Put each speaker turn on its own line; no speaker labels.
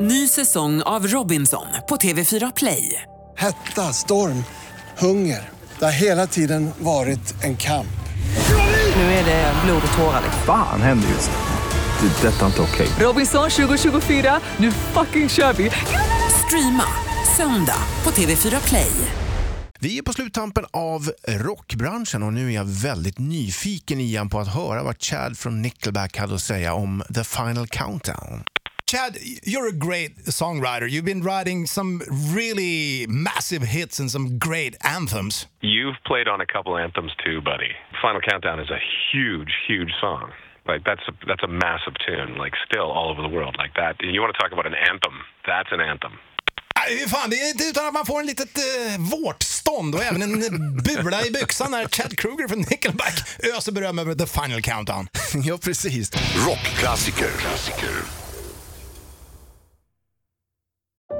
Ny säsong av Robinson på TV4 Play.
Hetta, storm, hunger. Det har hela tiden varit en kamp.
Nu är det blod och tårar.
Fan händer just nu. Det. är Detta är inte okej.
Robinson 2024, nu fucking kör vi! Streama söndag på TV4 Play.
Vi är på sluttampen av rockbranschen och nu är jag väldigt nyfiken igen på att höra vad Chad från Nickelback hade att säga om The Final Countdown.
Chad, you're a great songwriter. You've been writing some really massive hits and some great anthems.
You've played on a couple anthems too, buddy. Final Countdown is a huge, huge song. Like that's a, that's a massive tune. Like still all over the world. Like that. You want to talk about an anthem? That's an anthem.
Äh, Fan, det är inte utan att man får en litet eh, vårtstånd och även en bula i byxan när Chad Kroger från Nickelback öser beröm över The Final Countdown.
ja, precis.
Rockklassiker.